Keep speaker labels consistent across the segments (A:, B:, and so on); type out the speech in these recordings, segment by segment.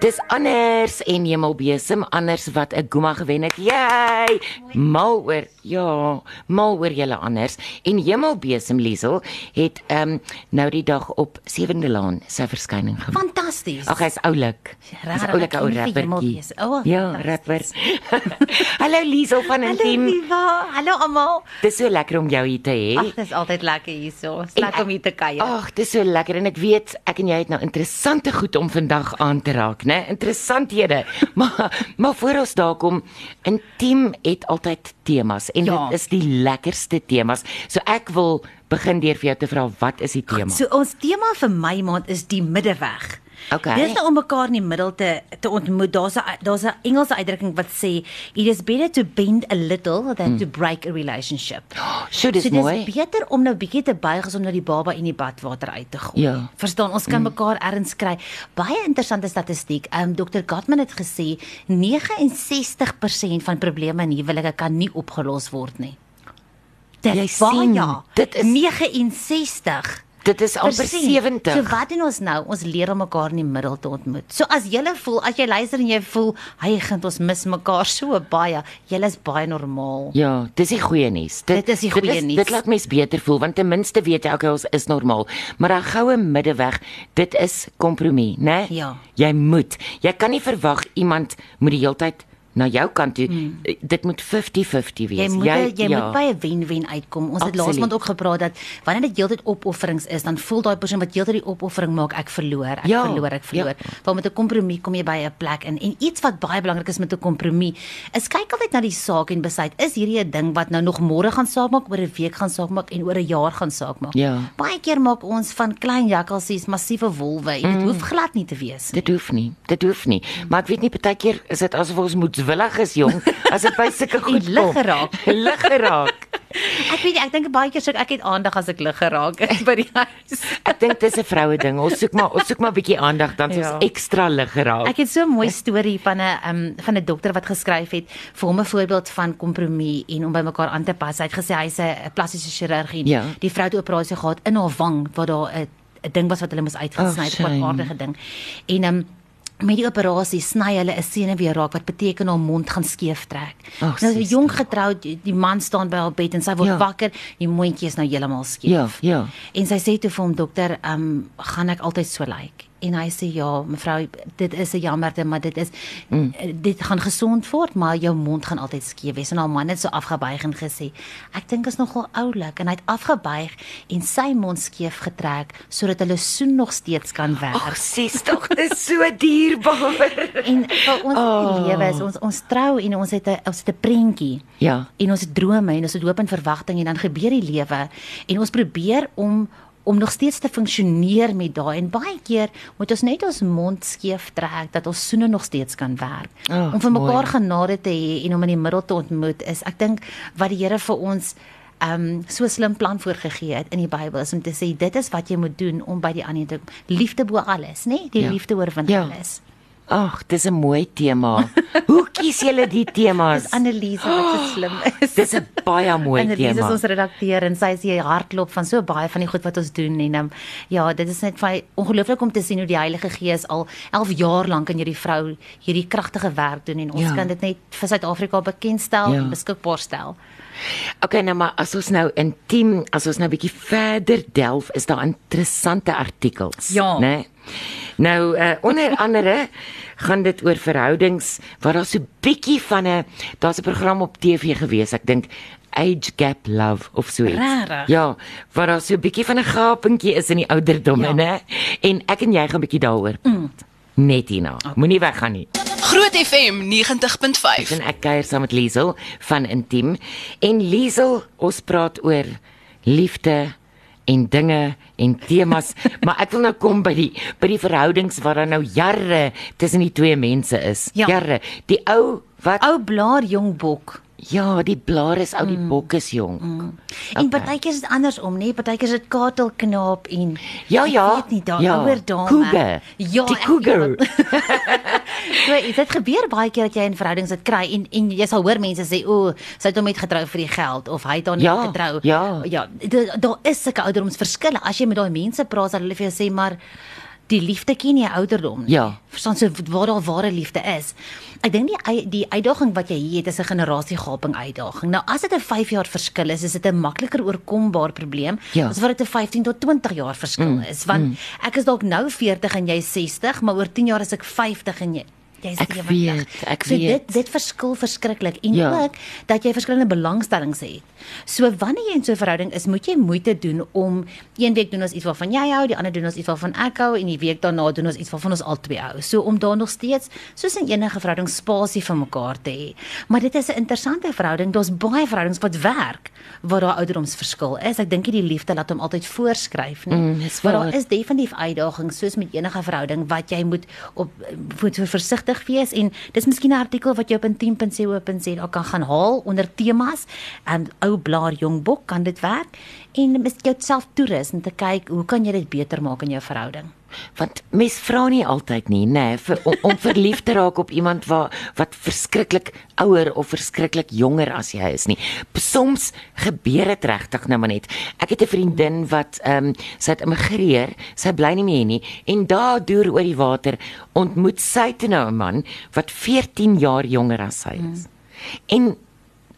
A: Dis anders en Hemelbesem anders wat 'n Guma gewen het. Jy mal oor ja, mal oor julle anders en Hemelbesem Liesel het ehm nou die dag op 7de Laan sy verskyning gemaak.
B: Fantasties.
A: Ag hy's oulik. Hy's
B: Rarig,
A: oulik
B: Ja, ek
A: ou
B: ken nie vir
A: rappertjie.
B: Hemelbesem. O,
A: Ja, rapper.
B: fantasties.
A: Hallo Liesel van
B: Hallo
A: Intiem.
B: Liva, hallo almal.
A: Dis so lekker om jou hier te hê.
B: Ag, dis altyd lekker hierso. Dis lekker om hier te kuier.
A: Ag, dis so lekker en ek weet ek en jy het nou interessante goed om vandag aan te raak, né? Interessanthede. Maar maar voor ons daar kom, intiem het altyd temas en
B: Ja.
A: dit is die lekkerste temas. So ek wil begin deur vir jou te vra wat is die tema?
B: So ons tema vir Mei maand is die middeweg.
A: Okay.
B: Dis nou om mekaar in die middel te te ontmoet. Daar's 'n daar's 'n Engelse uitdrukking wat sê it is better to bend a little than to break a relationship.
A: So dis
B: so
A: mooi.
B: dis beter om nou bietjie te buig as om nou die baba in die badwater uit te gooi.
A: Ja.
B: Verstaan, ons kan mekaar erns kry. Baie interessante statistiek. Ehm um, Dr. Gottman het gesê 69% van probleme in huwelike kan nie opgelos word nie. Dit ja.
A: Jy
B: is baie.
A: sien, dit is-
B: 69
A: Dit is amper
B: Persent. So
A: 70.
B: wat doen ons nou? Ons leer om mekaar in die middel te ontmoet. So as jy voel, as jy luister en jy voel, "Hygind, ons mis mekaar so baie." Jy is baie normaal.
A: Ja, dis die goeie nuus.
B: Dit is die goeie nuus.
A: Dit laat mens beter voel want ten minste weet jy okay, ons is normaal. Maar 'n goue middeweg, dit is kompromie, né?
B: Ja.
A: Jy moet. Jy kan nie verwag iemand moet die heeltyd na jou kant toe. Hmm. Dit moet 50-50 wees.
B: Jy moet jy, jy ja. moet by 'n wen-wen uitkom. Ons het laas
A: Absoluut.
B: maand ook gepraat dat wanneer dit heeltyd opofferings is, dan voel daai persoon wat heeltyd die opoffering maak, ek verloor, ek
A: Ja,
B: verloor, ek verloor. Ja. Want met 'n kompromie kom jy by 'n plek in. En iets wat baie belangrik is met 'n kompromie, is kyk altyd na die saak en besluit, is hierdie 'n ding wat nou nog môre gaan saak maak, oor 'n week gaan saak maak en oor 'n jaar gaan saak maak.
A: Ja.
B: Baie keer maak ons van klein jakkalsies massiewe wolwe en dit mm. hoef glad nie te wees nie.
A: Dit hoef nie. Dit hoef nie. Maar ek weet nie baie keer is dit asof ons moedswillig is jong as dit by sulke goed
B: lig
A: kom.
B: geraak.
A: lig geraak.
B: Ek weet nie, ek dink baie keer sê ek ek het aandag as ek lig geraak is by die huis.
A: Ek dink dis 'n vroue ding. Ons soek maar ons soek maar 'n bietjie aandag dan ja.
B: Ja.
A: ons ekstra lig geraak.
B: Ek het so 'n mooi storie van 'n um, van 'n dokter wat geskryf het vir hom 'n voorbeeld van kompromie en om by mekaar aan te pas. Hy het gesê hy's 'n plastiese chirurg en
A: Ja.
B: die vrou het 'n operasie gehad in haar wang waar daar 'n 'n ding was wat hulle moes uitgesny het,
A: Ag,
B: 'n
A: shame.
B: kwaadaardige ding. En um, met die operasie sny hulle 'n senuwee weer raak wat beteken haar mond gaan skeef trek.
A: Ag,
B: nou
A: sies.
B: jong getroud, die die man staan by haar bed en sy word
A: Ja.
B: ja. wakker, die mondjie is nou heeltemal skeef.
A: Ja, ja.
B: En sy sê toe vir hom dokter, "Ehm um, gaan ek altyd so lyk?" Like? En hy sê, "Ja, mevrou, dit is 'n jammerte, maar dit is mm. dit gaan gesond word, maar jou mond gaan altyd skeef wees." En haar man het so afgebuig en gesê, "Ek dink is nogal oulik." En hy het afgebuig en sy mond skeef getrek sodat hulle soen nog steeds kan werk.
A: Ag, sies tog, dis so dierbaar.
B: En vir ons oh. lewe is ons ons trou en ons het 'n ons het 'n prentjie.
A: Ja.
B: En ons het drome en ons het hoop en verwagting en dan gebeur die lewe en ons probeer om om nog steeds te funksioneer met daai en baie keer moet ons net ons mond skeef trek dat ons soene nog steeds kan werk.
A: Ag,
B: om vir
A: Ah, mooi.
B: mekaar genade te hê en om in die middel te ontmoet is ek dink wat die Here vir ons ehm um, so 'n slim plan voorgegee het in die Bybel is om te sê dit is wat jy moet doen om by die ander te liefde bo alles, nê? Nee? Die
A: Ja.
B: ja. liefde oorwin
A: Ja.
B: ja. alles.
A: Ag, dis 'n mooi tema. Hoe kies julle die temas?
B: Dis Annelise wat so slim is.
A: Dis 'n baie mooi
B: Annelise is
A: tema.
B: ons redakteur en sy is hier hartklop van so baie van die goed wat ons doen en um, ja, dit is net vir my ongelooflik om te sien hoe die Heilige Gees al 11 jaar lank in hierdie vrou hierdie kragtige werk doen en ons
A: Ja.
B: ja. kan dit net vir Suid-Afrika bekendstel
A: Ja.
B: ja. en beskikbaar stel.
A: Okay, nou maar as ons nou intiem, as ons nou bietjie verder delf, is daar interessante artikels,
B: Ja.
A: né? Nou uh, onder andere gaan dit oor verhoudings waar daar so bietjie van 'n daar's 'n program op TV gewees, ek dink Age Gap Love of so iets.
B: Rarig.
A: Ja, waar daar so 'n bietjie van 'n gapingkie is in die ouderdomme,
B: Ja.
A: né? En ek en jy gaan bietjie daaroor. Mm. Net hierna. Moenie weggaan nie.
C: Groot FM 90.5.
A: En ek kuier saam met Liesel van Intiem. En Liesel, ons praat oor liefde en dinge en temas, maar ek wil nou kom by die by die verhoudings waar daar nou jare tussen die twee mense is.
B: Ja.
A: Jare. Die ou wat
B: Ou blaar jong bok.
A: ja, die blaar is ou, die bok is jonk.
B: Mm. En partykeer is dit andersom, nê? Partykeer is dit katel knaap en
A: Ja,
B: ek
A: ja,
B: weet nie daar
A: ja.
B: ouer dame.
A: Cougar.
B: Ja,
A: Die
B: ek-
A: cougar.
B: so dit gebeur baie keer dat jy in verhoudings dit kry en en jy sal hoor mense sê o, sy het hom net getrou vir die geld of hy het haar net
A: Ja,
B: getrou.
A: ja.
B: ja da- daar is sulke ouderdomsverskille. As jy met daai mense praat, sal hulle vir jou sê maar die liefde ken jy ouderdom nie.
A: Ja.
B: Verstaan so waar daar ware liefde is. Ek dink die ui- die uitdaging wat jy hier het is 'n generasiegaping uitdaging. Nou as dit 'n 5 jaar verskil is, is dit 'n makliker oorkombaar probleem
A: Ja. Mm,
B: as wat dit 'n 15 tot 20 jaar verskil is, want ek is dalk nou 40 en jy 60, maar oor 10 jaar is ek 50 en jy jy's
A: Ek
B: 70.
A: weet, ek
B: so
A: weet.
B: Dit dit verskil verskriklik en
A: Ja.
B: ja. ook dat jy verskillende belangstellings het. So wanneer jy in so 'n verhouding is, moet jy moeite doen om een week doen ons iets waarvan jy hou, die ander doen ons iets waarvan ek hou en die week daarna doen ons iets waarvan ons albei hou. So om daar nog steeds soos in enige verhouding spasie vir mekaar te hê. Maar dit is 'n interessante verhouding. Daar's baie verhoudings wat werk waar daar ouderdomsverskil is. Ek dink nie die liefde laat hom altyd voorskryf nie.
A: Mm, dis
B: maar
A: waar.
B: daar is definitief uitdagings soos met enige verhouding wat jy moet op moet vir versigtig wees en dis miskien 'n artikel wat jy op intiem.co.za kan gaan haal onder temas. Um ou blaar jong bok kan dit werk en mis jouself toerus om te kyk hoe kan jy dit beter maak in jou verhouding.
A: Want mens vra nie altyd nie, nê, nee, vir- om, om verlief te raak op iemand wat wat verskriklik ouer of verskriklik jonger as jy is nie. Soms gebeur dit regtig nou maar net. Ek het 'n vriendin wat ehm um, sy het immigreer, sy bly nie meer hier nie en daar deur oor die water ontmoet sy toe nou 'n man wat 14 jaar jonger as sy is. En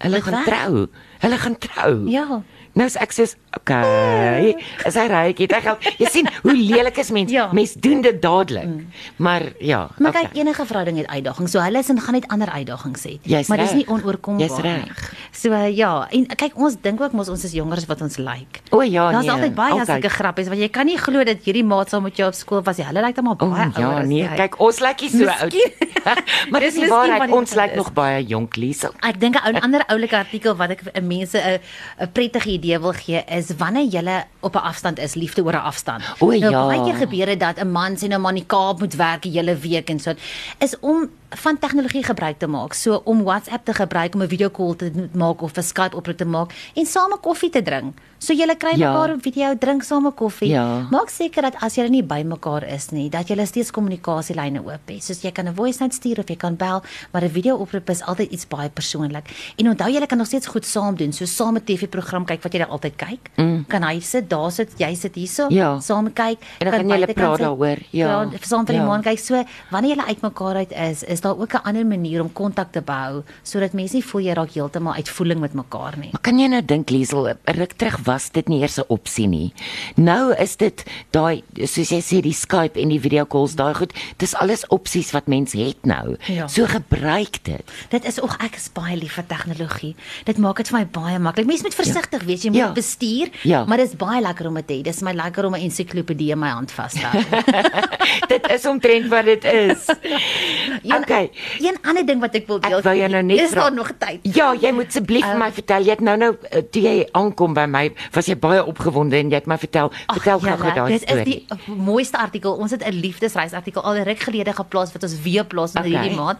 A: hulle
B: Dit
A: gaan
B: werk.
A: trou. Hulle gaan trou.
B: Ja.
A: Nou is ek soos, okay, is hy ryk? Het hy geld? Jy sien hoe lelik is mens.
B: Mm. Ja. Mm.
A: Mens doen dit dadelik. Maar ja,
B: Maar
A: okay.
B: kyk, enige verhouding het uitdagings. So hulle is en gaan net ander uitdagings hê.
A: Jy's
B: maar dis nie
A: reg.
B: onoorkombaar
A: Jy's reg.
B: nie. So uh, ja, en kyk ons dink ook mos ons is jonger as wat ons lyk. Like.
A: O ja,
B: Daar's
A: nee.
B: altyd baie okay.
A: altyd.
B: sulke grappies want jy kan nie glo dat hierdie maat saam met jou op skool was nie. Hulle lyk dan maar
A: O
B: baie
A: ja,
B: ouer as
A: nee,
B: jy.
A: kyk, ons lyk nie so oud. maar dis
B: Dis
A: nie
B: miskien wat
A: waar
B: die
A: ons
B: punt
A: lyk
B: is.
A: nog baie jonk, Liesel.
B: Ek dink 'n ou- ander oulike artikel wat ek vir mense 'n 'n prettige idee wil gee is wanneer jy op 'n afstand is, liefde oor 'n afstand.
A: O, ja.
B: Nou baie keer gebeur dit dat 'n man sê nou maar in die Kaap moet werk die hele week en so is om van tegnologie gebruik te maak. So om WhatsApp te gebruik om 'n video call te maak of 'n Skype oproep te maak en same koffie te drink. So jy kry
A: Ja.
B: mekaar op video, drink same koffie.
A: Ja.
B: Maak seker dat as julle nie by mekaar is nie, dat julle steeds kommunikasielyne oop het. Soos jy kan 'n voice note stuur of jy kan bel, maar 'n video-oproep is altyd iets baie persoonlik. En onthou julle kan nog steeds goed saam doen. So saam 'n TV-program kyk wat jy daar altyd kyk. Mm. Kan hy sit daar sit, jy sit hierso,
A: Ja.
B: saam kyk.
A: En dan kan julle
B: buitekant
A: praat
B: sit,
A: daaroor, ja.
B: praat, Saam vir die
A: Ja.
B: maan kyk. So wanneer julle uitmekaar uit is, is daar ook 'n ander manier om kontak te behou sodat mense nie voel jy raak heeltemal uitvoeling met mekaar nie.
A: Maar kan jy nou dink Liesel, 'n ruk terug was dit nie eers 'n opsie nie. Nou is dit daai soos jy sê die Skype en die video calls, daai goed, dis alles opsies wat mens het nou.
B: Ja.
A: So gebruik dit.
B: Dit is ook ek is baie lief vir tegnologie. Dit maak dit vir my baie maklik. Mense moet versigtig wees, jy moet
A: Ja.
B: ja. bestuur,
A: Ja.
B: maar dis baie lekker om dit te hê. Dis my lekker om 'n ensiklopedie in my hand vas te hou.
A: dit is omtrent wat dit is.
B: Een-
A: Okay.
B: Een ander ding wat ek wil deel.
A: Ek wou jou nou net
B: Is
A: vra-
B: daar nog tyd? Ehm.
A: Ja, jy moet asseblief vir my vertel. Jy het nou nou eh, toe jy aankom by my, was jy baie opgewonde en jy het my vertel, vertel
B: Ag,
A: gou-gou
B: julle,
A: daai
B: Dit is
A: storie.
B: die mooiste artikel. Ons het 'n liefdesreis artikel al ruk gelede geplaas wat ons weer plaas in
A: Okay.
B: okay. hierdie maand.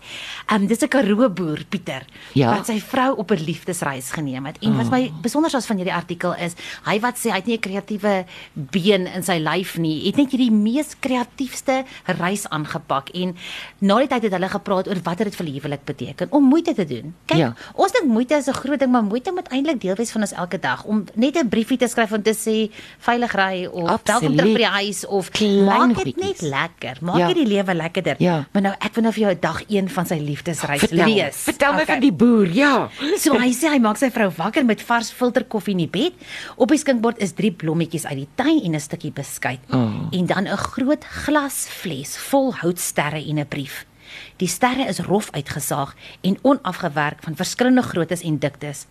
B: Ehm um, dis 'n Karoo boer, Pieter,
A: Ja.
B: wat sy vrou op 'n liefdesreis geneem het. En
A: Ah.
B: wat my besonder was van hierdie artikel is, hy wat sê hy het nie 'n kreatiewe been in sy lyf nie, het net hierdie mees kreatiefste reis aangepak en na die tyd het hulle gepraat oor wat dit vir die huwelik beteken om moeite te doen. Kyk,
A: Ja.
B: ja. Ons dink moeite is 'n groot ding, maar moeite moet eintlik deel wees van ons elke dag om net 'n briefie te skryf en te sê veilig ry of welkom terug by die huis of
A: Klein
B: maak dit
A: goedjies.
B: net lekker. Maak
A: Ja.
B: ja. die lewe lekkerder.
A: Ja.
B: Maar nou ek wil nou vir jou dag 1 van sy liefdesreis
A: Vertel,
B: lees.
A: vertel my
B: Okay.
A: van die boer, ja.
B: So hy sê hy maak sy vrou wakker met vars filterkoffie in die bed. Op die skinkbord is drie blommetjies uit die tuin en 'n stukkie beskuit.
A: Oh.
B: En dan 'n groot glasfles vol houtsterre en 'n brief. Die sterre is rof uitgesaag en onafgewerk van verskillende groottes en diktes.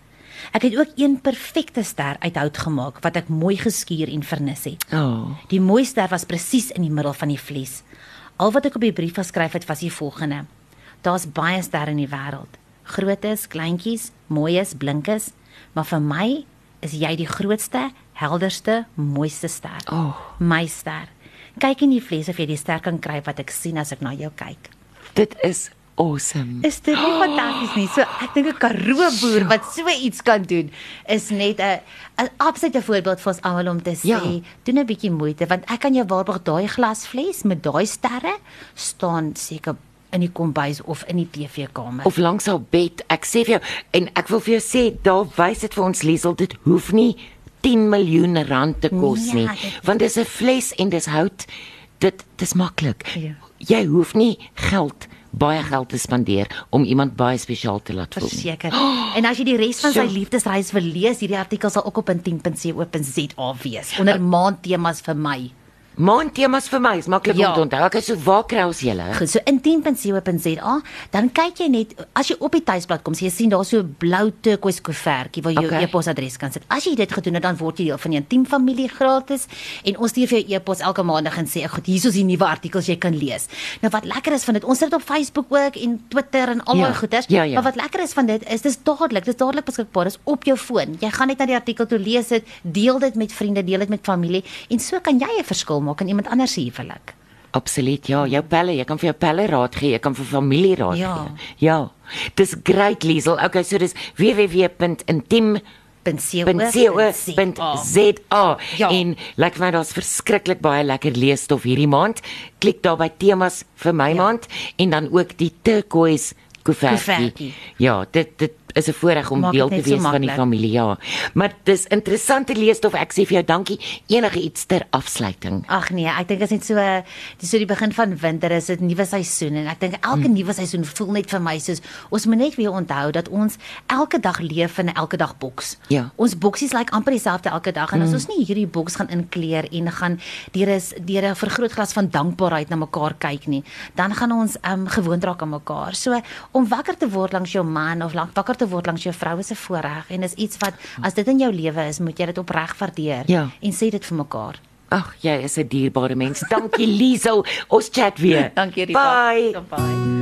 B: Ek het ook een perfekte ster uit hout gemaak wat ek mooi geskuur en vernis het.
A: Oh.
B: Die mooi ster was presies in die middel van die vlies. Al wat ek op die brief geskryf het was die volgende: Daar's baie sterre in die wêreld. Grootes, kleintjies, mooies, blinkes, maar vir my is jy die grootste, helderste, mooiste ster.
A: Oh.
B: My ster. Kyk in die vlies of jy die ster kan kry wat ek sien as ek na jou kyk.
A: Dit is awesome.
B: Is dit nie fantasties nie? So ek dink 'n Karoo boer wat so iets kan doen is net 'n 'n absolute voorbeeld vir ons almal om te sê,
A: Ja.
B: ja. doen 'n bietjie moeite want ek kan jou waarborg daai glasfles met daai sterre staan seker in die kombuis of in die TV-kamer.
A: Of langs haar bed. Ek sê vir jou en ek wil vir jou sê, daar wys dit vir ons Liesel, dit hoef nie 10 miljoen rand te kos
B: Ja,
A: nie,
B: dit-
A: want dis 'n fles en dis hout dit dis maklik.
B: Ja.
A: Jy hoef nie geld baie geld te spandeer om iemand baie spesiaal te laat voel. nie.
B: Verseker. En as jy die res van sy
A: So.
B: liefdesreis wil lees, hierdie artikel sal ook op in 10.co.za wees onder maandtemas vir my.
A: Maandtemas vir my is maklik
B: Ja.
A: om te onthou. Ek is so waar kry ons julle?
B: Goed, so in 10.co.za, dan kyk jy net as jy op die tuisblad kom, so jy sien daar so 'n blou turquoise koevertjie waar jy jou
A: Okay.
B: e-posadres kan sit. As jy dit gedoen het, dan word jy deel van die intiem familie gratis en ons stuur vir jou e-pos elke maandag en sê, "Goed, hier is die nuwe artikels jy kan lees." Nou wat lekker is van dit, ons sit op Facebook ook en Twitter en al
A: Ja,
B: daai goeders,
A: ja, ja.
B: maar wat lekker is van dit is dis dadelik, dis dadelik beskikbaar, dis op jou foon. Jy gaan net na die artikel toe lees dit, deel dit met vriende, deel dit met familie en so kan jy 'n verskil maak in iemand anders se huwelik.
A: Absoluut. Ja, jou pelle, jy kan vir jou pelle raad gee, jy kan vir familie raad
B: Ja.
A: gee. Ja. Dis great Liesel. Okay, so dis www.intim
B: Oh.
A: .co.za
B: Ja.
A: en lyk vir my daar's verskriklik baie lekker leesstof hierdie maand. Klik daar by temas vir my ja. maand en dan ook die turquoise koevertjie.
B: Koevertjie.
A: Ja, dit dit is 'n voorreg om
B: Maak dit
A: deel te
B: net so
A: wees so van die
B: maklik.
A: familie, ja. Maar dis interessante leesstof. Ek sê vir jou dankie. Enige iets ter afsluiting.
B: Ag nee, ek dink dit is net so dis so die begin van winter is dit nuwe seisoen en ek dink elke mm.
A: Hmm.
B: nuwe seisoen voel net vir my soos ons moet net weer onthou dat ons elke dag leef in 'n elke dag boks.
A: Ja. Hmm.
B: Ons boksies lyk like amper dieselfde elke dag en mm. as ons nie hierdie boks gaan inkleer en gaan deur is deur 'n vergrootglas van dankbaarheid na mekaar kyk nie, dan gaan ons um gewoond raak aan mekaar. So om wakker te word langs jou man of lank wakker te word langs jou vrou is 'n voorreg en is iets wat as dit in jou lewe is, moet jy dit opreg waardeer
A: Ja.
B: en sê dit vir mekaar.
A: Ag, jy is 'n dierbare mens. Dankie Liesel. Ons chat weer.
B: Dankie Rita.
A: Bye.
B: Bye.